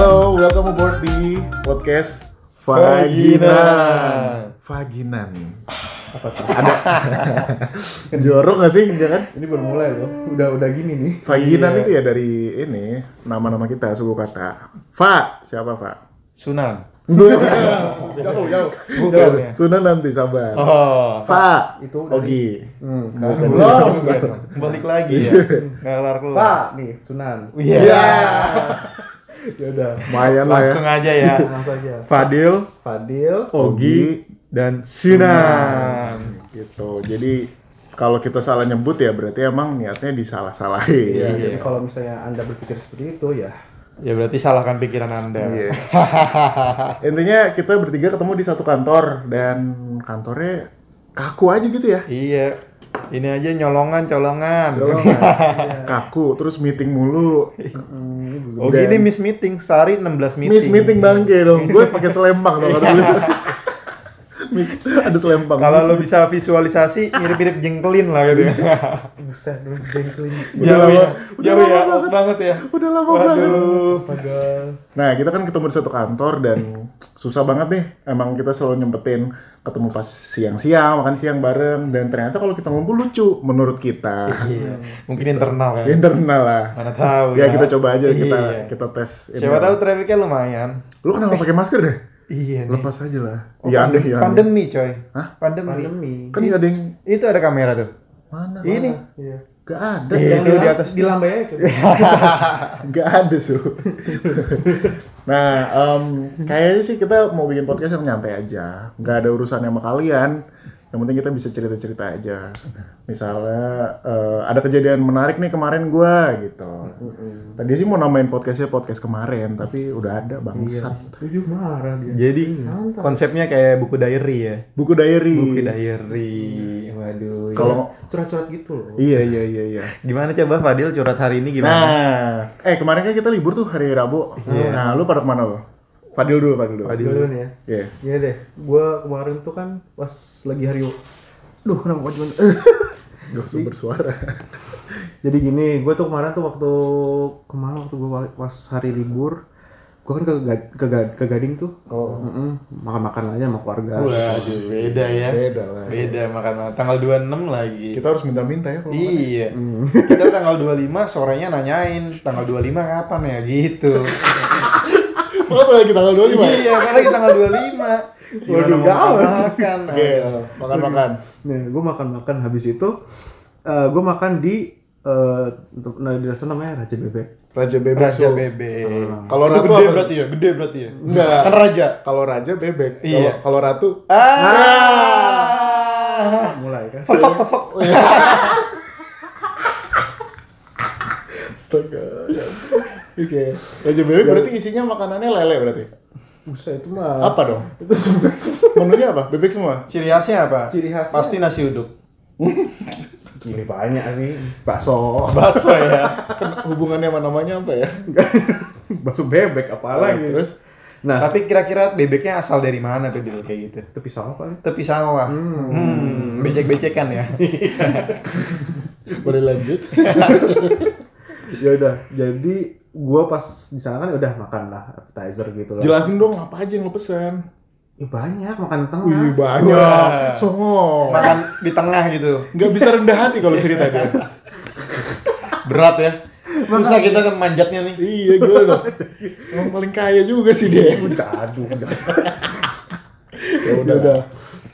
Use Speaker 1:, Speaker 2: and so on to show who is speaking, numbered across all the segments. Speaker 1: welcome aboard di podcast
Speaker 2: Vaginan.
Speaker 1: Vaginan. Vaginan. Ada jorok gak sih? Jangan.
Speaker 2: Ini baru mulai loh. Udah udah gini nih.
Speaker 1: Vaginan
Speaker 2: Iya.
Speaker 1: itu ya dari ini nama-nama kita suku kata. Fa siapa Fa?
Speaker 2: Sunan.
Speaker 1: jauh
Speaker 2: jauh. Bukan ya.
Speaker 1: Sunan nanti sabar.
Speaker 2: Oh.
Speaker 1: Fa
Speaker 3: Itu dari-
Speaker 1: Ogi.
Speaker 2: Hmm,
Speaker 1: Bukan.
Speaker 2: kan belum. Balik lagi
Speaker 1: Iya.
Speaker 2: ya. Nggak kelar kelar.
Speaker 3: Pak nih Sunan.
Speaker 2: Iya.
Speaker 1: Ya.
Speaker 3: Ya udah,
Speaker 1: Lumayan lah ya.
Speaker 2: Langsung aja ya.
Speaker 3: langsung aja.
Speaker 2: Fadil,
Speaker 3: Fadil.
Speaker 2: Oh, Ogi, dan Sunan.
Speaker 1: Gitu. Jadi kalau kita salah nyebut ya berarti emang niatnya disalah-salahin.
Speaker 3: Ya,
Speaker 2: Iya.
Speaker 3: Jadi kalau misalnya Anda berpikir seperti itu ya.
Speaker 2: Ya berarti salahkan pikiran Anda.
Speaker 1: Iya. Intinya kita bertiga ketemu di satu kantor dan kantornya kaku aja gitu ya.
Speaker 2: Iya. Ini aja nyolongan, colongan.
Speaker 1: Tolong,
Speaker 2: Iya.
Speaker 1: kaku terus meeting mulu.
Speaker 2: Ogi
Speaker 1: Dan-
Speaker 2: ini miss meeting, sehari 16 meeting.
Speaker 1: Miss meeting bangke dong. Gue pakai selempang dong kata tulis. Miss ada selempang.
Speaker 2: Kalau
Speaker 1: Miss Iya.
Speaker 2: lo bisa visualisasi, mirip-mirip jengkelin lah gitu.
Speaker 3: Buset, lu jengkling.
Speaker 1: Udah
Speaker 2: Jauh ya,
Speaker 1: lama- udah
Speaker 2: jauh
Speaker 1: lama
Speaker 2: ya,
Speaker 1: banget.
Speaker 2: out banget ya.
Speaker 1: udah lama banget.
Speaker 2: Waduh.
Speaker 3: Astaga.
Speaker 1: Nah, kita kan ketemu di satu kantor dan susah banget nih. Emang kita selalu nyempetin ketemu pas siang-siang, makan siang bareng dan ternyata kalau kita ngumpul lucu menurut kita.
Speaker 2: Iya. Mungkin
Speaker 1: Gitu.
Speaker 2: internal ya.
Speaker 1: Internal lah.
Speaker 2: Mana tahu.
Speaker 1: Ya kita coba aja kita
Speaker 2: Iya.
Speaker 1: kita tes. ini.
Speaker 2: Siapa tahu trafficnya lumayan.
Speaker 1: Lu kenapa pakai masker deh?
Speaker 2: Iya nih.
Speaker 1: Lepas aja lah. Iya aneh ya. aneh.
Speaker 2: Pandemi coy.
Speaker 1: Hah?
Speaker 2: Pandemi.
Speaker 3: Pandemi.
Speaker 1: Kan nggak ada yang
Speaker 2: Itu ada kamera tuh.
Speaker 1: mana?
Speaker 2: Ini.
Speaker 3: Iya.
Speaker 1: Gak ada.
Speaker 2: Iya.
Speaker 1: Gak
Speaker 2: Itu di atas. Iya.
Speaker 3: Dilambai aja coba.
Speaker 1: Gak ada su. nah, em, kayaknya sih kita mau bikin podcast yang nyantai aja. Gak ada urusan sama kalian. Yang penting kita bisa cerita-cerita aja. Misalnya eh, ada kejadian menarik nih kemarin gua gitu. Tadi sih mau namain podcastnya podcast kemarin, tapi udah ada bangsat.
Speaker 3: Jujur marah dia.
Speaker 2: Jadi konsepnya kayak buku diary ya.
Speaker 1: Buku diary.
Speaker 2: Buku diary. Iya, Waduh.
Speaker 1: Kalau
Speaker 3: Curhat-curhat gitu loh.
Speaker 1: iya iya iya iya.
Speaker 2: Gimana coba Fadil curhat hari ini gimana? Iya.
Speaker 1: Nah, eh kemarin kan kita libur tuh hari Rabu. Nah, lu pada kemana lo? Fadil dulu, Fadil dulu. Iya.
Speaker 3: Dulu nih ya. Iya deh, gua kemarin tuh kan pas lagi hari Duh, kenapa gua cuman
Speaker 1: Gak usah bersuara.
Speaker 3: Jadi gini, gue tuh kemarin tuh waktu kemarin waktu gue pas hari libur, gue kan ke, Ga- ke, Ga- ke Gading tuh,
Speaker 1: Oh.
Speaker 3: Mm-mm, makan-makan aja sama keluarga.
Speaker 2: Waduh, beda ya.
Speaker 1: Beda lah.
Speaker 2: Beda makan tanggal 26 lagi.
Speaker 1: Kita harus minta-minta ya kalau
Speaker 2: Iya. Kita tanggal 25 sorenya nanyain tanggal 25 kapan ya gitu.
Speaker 1: Kenapa lagi tanggal 25 ya?
Speaker 2: iya, karena kita tanggal 25. Gimana
Speaker 1: Waduh,
Speaker 2: mau
Speaker 1: gawat.
Speaker 2: makan?
Speaker 1: Oke, makan-makan.
Speaker 3: Nah, gue makan-makan habis itu, gue makan di eh, untuk- nah di sana namanya Raja Bebek.
Speaker 1: Raja bebek.
Speaker 2: Raja
Speaker 1: Su.
Speaker 2: bebek.
Speaker 1: Kalau
Speaker 2: Ah. Itu
Speaker 1: ratu
Speaker 2: gede
Speaker 1: apa?
Speaker 2: berarti ya, gede berarti ya.
Speaker 1: Enggak.
Speaker 2: Kan raja.
Speaker 1: Kalau raja bebek. Kalau-
Speaker 2: Iya.
Speaker 1: Kalau ratu
Speaker 2: Ah.
Speaker 3: Mulai kan?
Speaker 2: Fefek fefek.
Speaker 1: astaga. ya. Oke. Raja bebek berarti isinya makanannya lele berarti.
Speaker 3: Buset itu
Speaker 2: Ah.
Speaker 3: mah
Speaker 1: Apa dong? Itu menunya apa? Bebek semua.
Speaker 2: Ciri khasnya apa?
Speaker 3: Ciri khasnya-
Speaker 2: pasti nasi uduk.
Speaker 3: gini banyak sih, bakso,
Speaker 2: Bakso ya.
Speaker 1: Kan hubungannya sama namanya apa ya?
Speaker 3: bakso bebek apalagi.
Speaker 2: gitu.
Speaker 1: Terus?
Speaker 3: Nah,
Speaker 2: Tapi kira-kira bebeknya asal dari mana tuh Dil kayak gitu?
Speaker 3: itu pisau apa nih?
Speaker 2: Tepi sawah. Hmm, becek-becekan ya.
Speaker 1: Boleh lanjut.
Speaker 2: Iya.
Speaker 3: Ya udah, jadi gue pas di sana kan udah makan lah appetizer gitu lah.
Speaker 1: Jelasin dong apa aja yang lo pesan.
Speaker 3: Ih, banyak makan tengah.
Speaker 1: Wih banyak.
Speaker 2: Wah.
Speaker 1: Songo.
Speaker 2: Makan di tengah gitu.
Speaker 1: Nggak bisa rendah hati kalau cerita dia.
Speaker 2: Berat ya. Susah kita manjatnya nih.
Speaker 1: iya gue loh. Emang paling kaya juga sih dia.
Speaker 3: Aduh,
Speaker 1: Ya
Speaker 3: udah.
Speaker 1: udah.
Speaker 3: udah.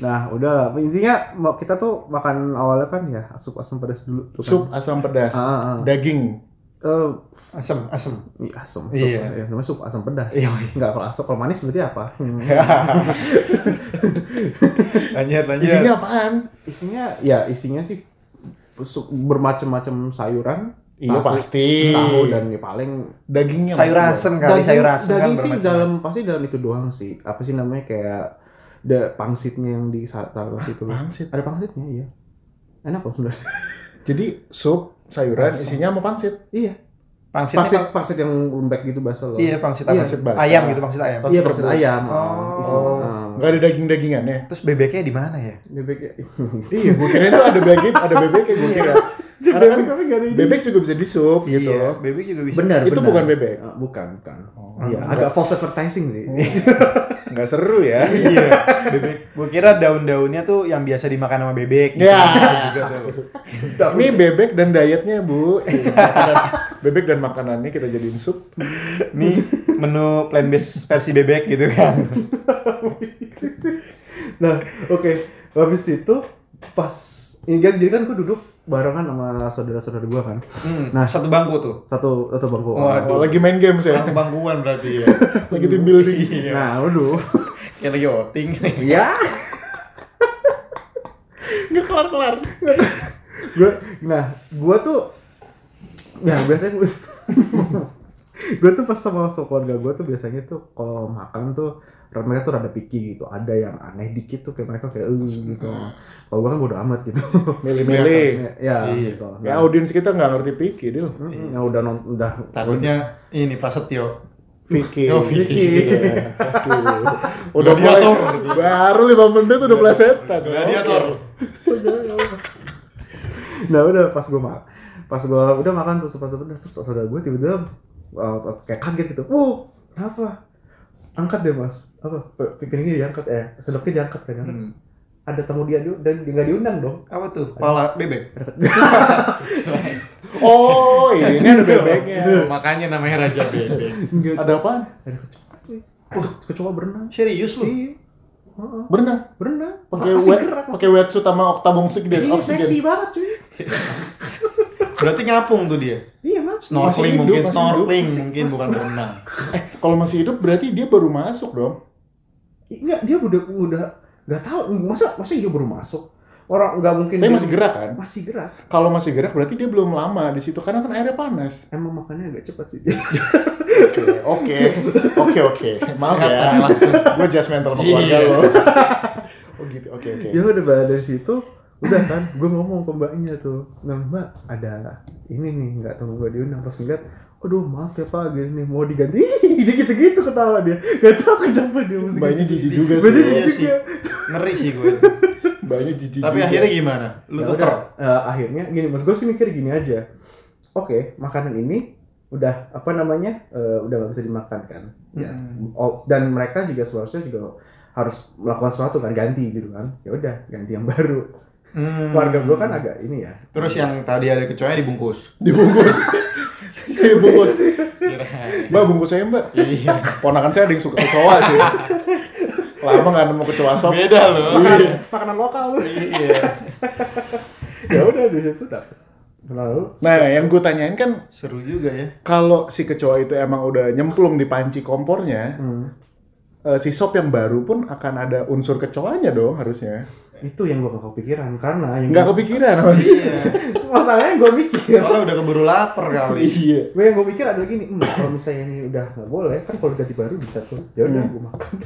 Speaker 3: Nah, udah lah. Intinya mau- kita tuh makan awalnya kan ya sup asam pedas dulu. Tuh kan.
Speaker 1: Sup asam pedas.
Speaker 3: Ah, ah.
Speaker 1: Daging.
Speaker 3: Eh,
Speaker 2: Asem, asem.
Speaker 3: iya, asam. Sup,
Speaker 2: Iya.
Speaker 3: ya, namanya sup asam pedas.
Speaker 2: Iya.
Speaker 3: Enggak kalau asam kalau manis berarti apa? Hmm.
Speaker 2: Lanjut, lanjut.
Speaker 1: Isinya apaan?
Speaker 3: Isinya ya isinya sih sup bermacam-macam sayuran.
Speaker 1: Iya,
Speaker 3: Tahu-
Speaker 1: pasti.
Speaker 3: Tahu dan ya paling
Speaker 1: Dagingnya.
Speaker 2: sayur
Speaker 1: maksudnya.
Speaker 2: asem kali, iya. sayur asem kan
Speaker 3: daging sih
Speaker 2: bermacam.
Speaker 3: dalam pasti dalam itu doang sih. Apa sih namanya kayak ada pangsitnya yang di taruh situ.
Speaker 1: Pangsit.
Speaker 3: Ada pangsitnya, iya. Enak kok sebenarnya.
Speaker 1: Jadi sup sayuran isinya sama pangsit.
Speaker 3: iya.
Speaker 2: Pangsitnya
Speaker 3: Pangsit
Speaker 2: pang-
Speaker 3: pangsit yang lembek gitu basah loh.
Speaker 2: iya pangsit apa?
Speaker 3: Iya,
Speaker 2: Pangsit
Speaker 1: basah.
Speaker 2: Ayam gitu pangsit ayam.
Speaker 3: Iya, pangsit
Speaker 1: rebus.
Speaker 3: ayam.
Speaker 2: Oh.
Speaker 3: Isi. Ah.
Speaker 1: Nggak ada ya? daging-dagingannya.
Speaker 2: Terus bebeknya di mana ya?
Speaker 3: Bebek ya.
Speaker 1: Iya, gue kira itu ada bebek, ada bebek kayak gue kira. Karena kan
Speaker 3: tapi nggak ada ini.
Speaker 1: bebek juga bisa disup gitu.
Speaker 2: Iya, bebek juga bisa.
Speaker 3: Benar,
Speaker 1: Itu
Speaker 3: benar.
Speaker 1: bukan bebek.
Speaker 3: Ah, bukan, bukan.
Speaker 1: Oh.
Speaker 3: Iya, agak false advertising sih.
Speaker 1: Nggak seru ya.
Speaker 2: Iya, bebek. Gue kira daun-daunnya tuh yang biasa dimakan sama bebek. gitu.
Speaker 1: Ya.
Speaker 2: Juga tuh.
Speaker 1: Ini bebek dan dietnya bu. Makanan- bebek dan makanannya kita jadiin sup.
Speaker 2: Ini menu plan based versi bebek gitu kan.
Speaker 3: Nah, oke. Habis itu pas ini kan- jadi kan gue duduk barengan sama saudara-saudara gue kan.
Speaker 2: Hmm,
Speaker 3: Nah.
Speaker 2: satu bangku tuh.
Speaker 3: Satu satu bangku.
Speaker 2: Waduh.
Speaker 1: Oh, lagi main games ya.
Speaker 2: Satu bangkuan berarti ya.
Speaker 1: Lagi tim building.
Speaker 2: Iya.
Speaker 3: Nah, waduh.
Speaker 2: Kayak lagi outing nih.
Speaker 3: Iya.
Speaker 1: Nggak kelar-kelar.
Speaker 3: gue nah gue tuh ya biasanya gue gue tuh pas sama sama keluarga gue tuh biasanya tuh kalau makan tuh mereka tuh rada picky gitu ada yang aneh dikit tuh kayak mereka kayak "Eh," gitu kalau gue kan bodo amat gitu
Speaker 1: Milih-milih.
Speaker 3: ya
Speaker 2: Iya.
Speaker 3: gitu nah,
Speaker 1: Ya audiens kita nggak ngerti pikir dulu.
Speaker 3: mm, ya udah non, udah
Speaker 2: Takutnya ini Prasetyo.
Speaker 1: Vicky.
Speaker 2: Oh, Vicky.
Speaker 1: Iya. Aduh. Udah mulai
Speaker 2: Gladiator.
Speaker 1: baru lima menit udah plesetan.
Speaker 2: Gladiator.
Speaker 1: Astaga, ya Allah.
Speaker 3: nah udah pas gue makan pas gue udah makan tuh pas udah terus saudara gue tiba-tiba uh, kayak kaget gitu wow kenapa angkat deh mas apa piring ini diangkat eh sendoknya diangkat kan
Speaker 2: Hmm.
Speaker 3: ada tamu dia du- dan dia nggak diundang dong.
Speaker 2: Apa tuh? Pala bebek.
Speaker 1: Oh, ini ada bebeknya.
Speaker 2: Iya. Makanya namanya Raja Bebek.
Speaker 3: Enggak.
Speaker 1: Iya. Ada apaan?
Speaker 3: ada kecoa. Ke- kecoa berenang.
Speaker 2: Serius lu?
Speaker 3: Iya. Heeh.
Speaker 1: Berenang.
Speaker 3: Berenang.
Speaker 1: pakai
Speaker 3: Masih
Speaker 1: wet
Speaker 3: gerak, masih-
Speaker 1: pakai wetsuit sama oktabong oksigen
Speaker 3: Iya, seksi
Speaker 1: oksigen
Speaker 3: banget cuy.
Speaker 2: Berarti ngapung tuh dia.
Speaker 3: Iya,
Speaker 1: Masih
Speaker 3: Mas.
Speaker 2: Snorkeling
Speaker 1: hidup,
Speaker 2: mungkin,
Speaker 1: masih
Speaker 2: snorkeling
Speaker 3: hidup.
Speaker 2: mungkin bukan berenang.
Speaker 1: kalau masih hidup berarti dia baru masuk dong
Speaker 3: Iya, Enggak, dia udah udah enggak tahu masa masa iya baru masuk. Orang enggak mungkin
Speaker 1: tapi
Speaker 3: dia-
Speaker 1: masih gerak kan
Speaker 3: masih gerak.
Speaker 1: kalau masih gerak berarti dia belum lama di situ karena kan airnya panas
Speaker 3: Emang makannya agak cepat sih. dia.
Speaker 1: oke oke oke oke maaf ya
Speaker 2: Nah, Langsung.
Speaker 1: gue just mental sama keluarga
Speaker 2: Iya.
Speaker 1: lo oh gitu oke oke
Speaker 3: dia Ya udah balik dari situ udah kan gue ngomong ke mbaknya tuh nah mbak ada ini nih nggak tahu gue diundang pas ngeliat aduh maaf ya pak gini nih mau diganti dia gitu gitu ketawa dia nggak tahu kenapa dia mesti
Speaker 1: banyak jijik juga
Speaker 3: Banyak
Speaker 1: sih
Speaker 2: Iya
Speaker 3: jijik
Speaker 2: sih.
Speaker 3: ya.
Speaker 2: Ngeri sih gue.
Speaker 1: banyak jijik
Speaker 2: Tapi
Speaker 1: juga.
Speaker 2: akhirnya gimana? Lu
Speaker 3: Ya
Speaker 2: tuker.
Speaker 3: udah eh, akhirnya gini mas gue sih mikir gini aja oke makanan ini udah apa namanya eh, udah nggak bisa dimakan kan ya
Speaker 1: Mm.
Speaker 2: Hmm.
Speaker 3: oh, dan mereka juga seharusnya juga harus melakukan sesuatu kan ganti gitu kan ya udah ganti yang baru
Speaker 2: Hmm.
Speaker 3: keluarga gue kan agak ini ya
Speaker 2: Terus yang tadi ada kecoanya dibungkus.
Speaker 1: dibungkus Iya, dibungkus
Speaker 2: Kirain.
Speaker 1: mbak bungkus saya mbak
Speaker 2: Iya.
Speaker 1: ponakan saya ada yang suka kecoa sih lama nggak nemu kecoa sop
Speaker 2: Beda loh.
Speaker 1: Iya.
Speaker 3: makanan lokal tuh
Speaker 2: Iya.
Speaker 3: ya udah di situ dapet lalu
Speaker 1: nah yang gue tanyain kan
Speaker 2: Seru juga ya.
Speaker 1: kalau si kecoa itu emang udah nyemplung di panci kompornya,
Speaker 3: hmm,
Speaker 1: eh, si sop yang baru pun akan ada unsur kecoanya dong harusnya.
Speaker 3: itu yang gue gak kepikiran karena yang
Speaker 1: Nggak kepikiran sama dia.
Speaker 2: Iya.
Speaker 3: masalahnya gue mikir
Speaker 2: Soalnya udah keburu lapar kali.
Speaker 1: Iya.
Speaker 3: gue yang gue pikir adalah gini hmm, kalau misalnya ini udah nggak boleh kan kalau ganti baru bisa tuh ya udah
Speaker 1: Iya.
Speaker 3: gue makan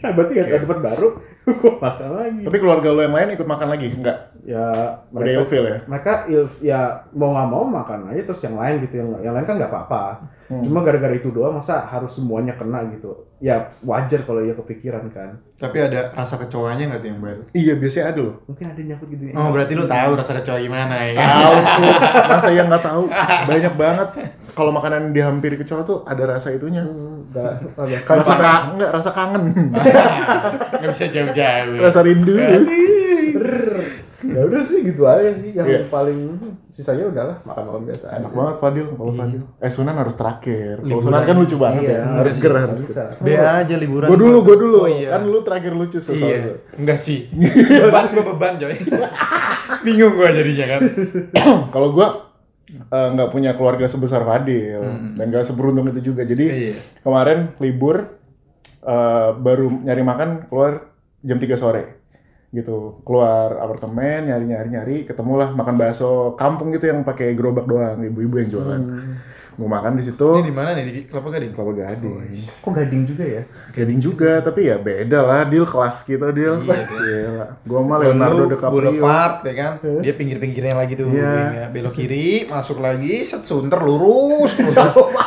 Speaker 3: Nah, berarti gak dapat baru gue makan lagi
Speaker 1: Tapi keluarga lo yang lain ikut makan lagi? Nggak.
Speaker 3: ya
Speaker 1: Udah
Speaker 3: mereka
Speaker 1: ilfil ya?
Speaker 3: mereka ilf, ya mau nggak mau makan aja terus yang lain gitu yang yang lain kan nggak apa-apa
Speaker 1: Hmm.
Speaker 3: cuma gara-gara itu doang masa harus semuanya kena gitu ya wajar kalau ya kepikiran kan
Speaker 2: Tapi ada rasa kecoanya nggak tuh yang baru?
Speaker 1: Iya, biasanya ada loh.
Speaker 3: mungkin ada yang nyangkut gitu
Speaker 2: Oh berarti lu tahu rasa kecoa gimana ya?
Speaker 1: Tahu sih. Masa yang nggak tahu? Banyak banget. Kalau makanan dihampiri kecoa tuh ada rasa itunya.
Speaker 3: Enggak, enggak.
Speaker 1: Rasa ka nggak, rasa kangen.
Speaker 2: Gak bisa jauh-jauh.
Speaker 1: rasa rindu.
Speaker 2: Iya.
Speaker 3: ya udah sih gitu aja sih yang
Speaker 1: Iya.
Speaker 3: paling sisanya udahlah makan makan biasa aja.
Speaker 1: Enak banget Fadil, kalau Fadil. Eh Sunan harus terakhir. Kalau
Speaker 2: Iya. Liburan.
Speaker 1: Sunan kan lucu banget
Speaker 3: Iya,
Speaker 1: ya. Harus
Speaker 3: iya,
Speaker 1: gerak,
Speaker 3: nggak
Speaker 1: harus
Speaker 3: bisa.
Speaker 1: gerak.
Speaker 2: Biar aja liburan.
Speaker 1: Gue dulu, gue dulu.
Speaker 2: Oh, iya.
Speaker 1: Kan lu terakhir lucu so,
Speaker 2: Iya.
Speaker 1: so- so.
Speaker 2: Enggak sih. beban gue beban coy. Bingung gue jadinya kan.
Speaker 1: Kalau gua eh, nggak punya keluarga sebesar Fadil dan nggak seberuntung itu juga. Jadi
Speaker 2: Hmm. Iya.
Speaker 1: kemarin libur eh, baru nyari makan keluar jam 3 sore gitu keluar apartemen nyari nyari nyari ketemulah makan bakso kampung gitu yang pakai gerobak doang ibu-ibu yang jualan Gue makan di situ.
Speaker 2: Hmm. Ini di mana nih? Di Oh, iya. Kelapa Gading.
Speaker 1: Kelapa Gading.
Speaker 3: Kok gading juga ya?
Speaker 1: Gading juga, tapi ya beda lah deal kelas kita deal.
Speaker 2: Iya,
Speaker 1: Gila. Gua mah Leonardo
Speaker 2: Lalu
Speaker 1: DiCaprio.
Speaker 2: Boulevard ya kan. Dia pinggir-pinggirnya lagi tuh.
Speaker 1: Iya.
Speaker 2: ya. Belok kiri, masuk lagi, set sunter lurus. terus.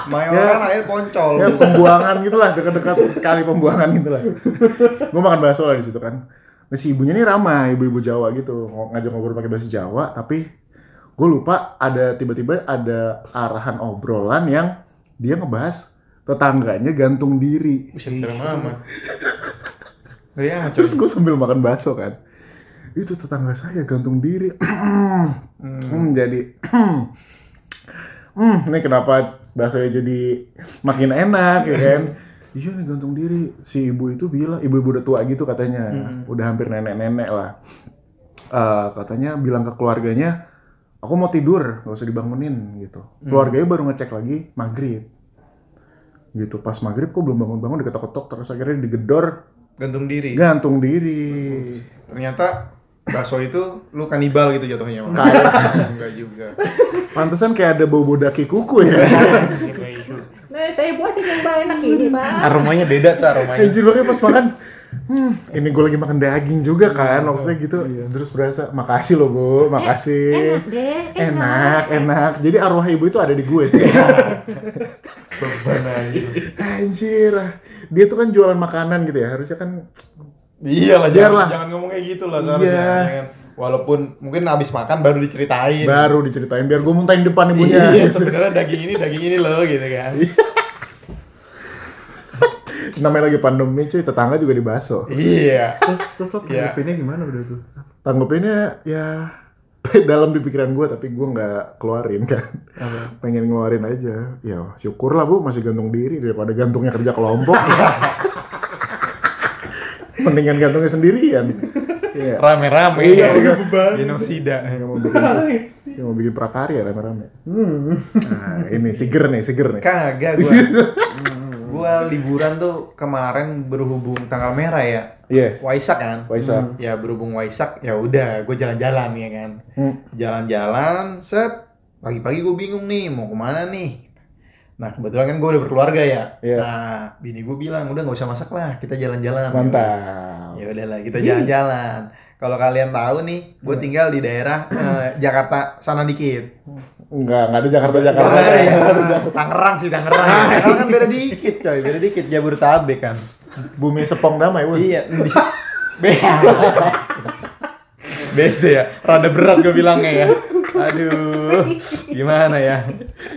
Speaker 2: Mayoran
Speaker 1: Ya.
Speaker 2: air poncol.
Speaker 1: Ya pembuangan gitu lah, dekat-dekat kali pembuangan gitu lah. Gua makan bakso lah di situ kan. Nah, si ibunya ini ramah, ibu-ibu Jawa gitu. Ngo- Ngajak ngobrol pakai bahasa Jawa, tapi gue lupa ada tiba-tiba ada arahan obrolan yang dia ngebahas tetangganya gantung diri.
Speaker 2: Buset, serem amat. Ngeri amat, coy.
Speaker 1: Terus gue sambil makan bakso kan. Itu tetangga saya gantung diri. Hmm, jadi hmm, ini kenapa baksonya jadi makin enak ya kan? Iya nih gantung diri. Si ibu itu bilang, ibu-ibu udah tua gitu katanya. Udah hampir nenek-nenek lah. Eh, katanya bilang ke keluarganya, aku mau tidur, gak usah dibangunin gitu. Keluarganya baru ngecek lagi maghrib. Gitu, pas maghrib kok belum bangun-bangun diketok-ketok terus akhirnya digedor
Speaker 2: Gantung diri.
Speaker 1: gantung diri
Speaker 2: Ternyata bakso itu lu kanibal gitu jatuhnya.
Speaker 1: iya.
Speaker 2: Enggak juga.
Speaker 1: pantesan kayak ada bau bau daki kuku ya
Speaker 4: Nah, saya buatin yang enak ini, Pak.
Speaker 2: Aromanya beda tuh aromanya.
Speaker 1: anjir makanya pas makan hmm, ini gue lagi makan daging juga kan maksudnya gitu
Speaker 2: Iya,
Speaker 1: terus berasa makasih loh bu makasih
Speaker 4: Eh, Enak deh,
Speaker 1: enak
Speaker 4: enak.
Speaker 1: enak jadi arwah ibu itu ada di gue sih
Speaker 2: Beban aja.
Speaker 1: anjir dia tuh kan jualan makanan gitu ya harusnya kan
Speaker 2: Iya lah,
Speaker 1: Biar
Speaker 2: jangan,
Speaker 1: lah.
Speaker 2: jangan ngomong kayak gitu lah.
Speaker 1: Iya.
Speaker 2: seharusnya, jangan. Walaupun mungkin abis makan baru diceritain.
Speaker 1: baru diceritain biar gue muntahin depan ibunya
Speaker 2: Iya, sebenarnya daging ini daging ini loh gitu kan.
Speaker 1: namanya lagi pandemi cuy tetangga juga dibaso
Speaker 2: iya.
Speaker 3: Terus terus lo
Speaker 2: Iya.
Speaker 3: tanggepinnya gimana udah tuh?
Speaker 1: tanggapinnya ya dalam di pikiran gue tapi gue nggak keluarin kan pengen ngeluarin aja ya syukurlah bu masih gantung diri daripada gantungnya kerja kelompok ya. mendingan gantungnya sendirian Iya.
Speaker 2: Rame-rame.
Speaker 1: Iya, iya.
Speaker 2: Genosida.
Speaker 1: yang mau bikin yang mau bikin prakarya rame-rame
Speaker 3: Hmm.
Speaker 1: nah ini seger nih seger nih
Speaker 2: Kagak gua. gua liburan tuh kemarin berhubung tanggal merah ya.
Speaker 1: iya
Speaker 2: Waisak kan?
Speaker 1: Waisak.
Speaker 2: Hmm. Ya berhubung Waisak ya udah gue jalan-jalan ya kan.
Speaker 1: Hmm.
Speaker 2: Jalan-jalan set pagi-pagi gue bingung nih mau kemana nih. Nah kebetulan kan gue udah berkeluarga ya.
Speaker 1: Iya.
Speaker 2: Nah bini gue bilang udah nggak usah masak lah kita jalan-jalan.
Speaker 1: mantap
Speaker 2: Ya udahlah kita jalan-jalan. Kalau kalian tahu nih
Speaker 1: Iya.
Speaker 2: gue tinggal di daerah eh, Jakarta sana dikit.
Speaker 1: nggak nggak ada Jakarta Jakarta
Speaker 2: Tangerang ya. Tangerang sih Tangerang. Tangerang kan beda dikit coy, beda dikit Jabodetabek kan.
Speaker 1: bumi sepong damai Bun.
Speaker 2: Iya. di- BSD ya, rada berat gue bilangnya ya. Aduh, gimana ya? Ah.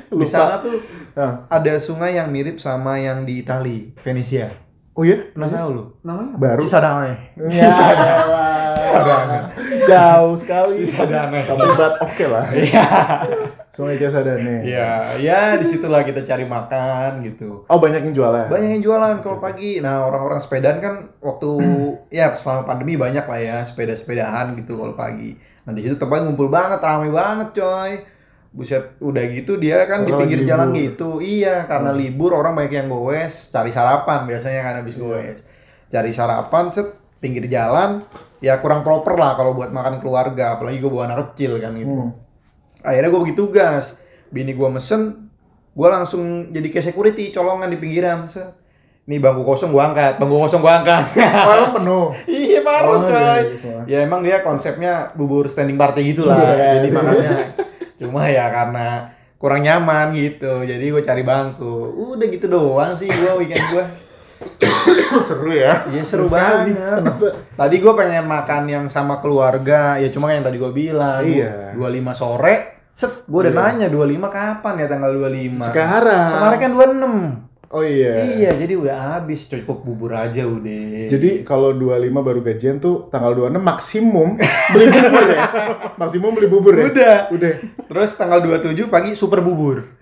Speaker 2: Di
Speaker 1: Lupa.
Speaker 2: sana tuh
Speaker 1: Nah.
Speaker 2: ada sungai yang mirip sama yang di Itali, Venesia.
Speaker 1: oh iya
Speaker 2: Pernah tahu lu?
Speaker 3: Namanya apa?
Speaker 1: baru
Speaker 2: Cisadane.
Speaker 1: Ya,
Speaker 2: Iya.
Speaker 1: Cisadane. Jauh sekali.
Speaker 2: Cisadane.
Speaker 1: Tapi buat oke lah.
Speaker 2: Iya.
Speaker 1: Sungai Cisadane.
Speaker 2: Iya, ya disitulah kita cari makan gitu.
Speaker 1: Oh banyak yang jualan.
Speaker 2: Banyak yang jualan kalau pagi. Nah, orang-orang sepedaan kan waktu ya selama pandemi banyak lah ya sepeda-sepedaan gitu kalau pagi. Nah, di situ tempat ngumpul banget, ramai banget, coy. Buset, udah gitu dia kan di
Speaker 1: Orang
Speaker 2: pinggir
Speaker 1: libur. Hmm.
Speaker 2: jalan gitu. Iya, karena libur orang banyak yang gowes, cari sarapan biasanya kan
Speaker 1: Iya.
Speaker 2: habis gowes. Cari sarapan set pinggir jalan ya kurang proper lah kalau buat makan keluarga, apalagi gue bawa anak kecil kan gitu
Speaker 1: Hmm.
Speaker 2: akhirnya gue bagi tugas bini gue mesen gue langsung jadi kayak security colongan di pinggiran set. nih bangku kosong gue angkat bangku kosong gue angkat
Speaker 1: Oh, emang penuh.
Speaker 2: iya
Speaker 1: Oh,
Speaker 2: baru
Speaker 1: iya,
Speaker 2: coy
Speaker 1: iya, semua.
Speaker 2: ya emang dia konsepnya bubur standing party gitu lah
Speaker 1: Iya,
Speaker 2: jadi
Speaker 1: iya.
Speaker 2: makannya cuma ya karena kurang nyaman gitu jadi gue cari bangku udah gitu doang sih gue weekend gue
Speaker 1: Seru ya.
Speaker 2: Iya seru banget. Tadi gue pengen makan yang sama keluarga, ya cuma yang tadi gue bilang.
Speaker 1: Iya.
Speaker 2: 25 sore, set gue udah nanya 25 kapan ya tanggal 25?
Speaker 1: Sekarang.
Speaker 2: Kemarin kan 26.
Speaker 1: Oh iya.
Speaker 2: Iya, jadi udah habis, cukup bubur aja udah.
Speaker 1: Jadi kalau 25 baru gajian tuh tanggal 26 maksimum beli bubur ya. Maksimum beli bubur ya.
Speaker 2: udah.
Speaker 1: Udah.
Speaker 2: Terus tanggal 27 pagi super bubur.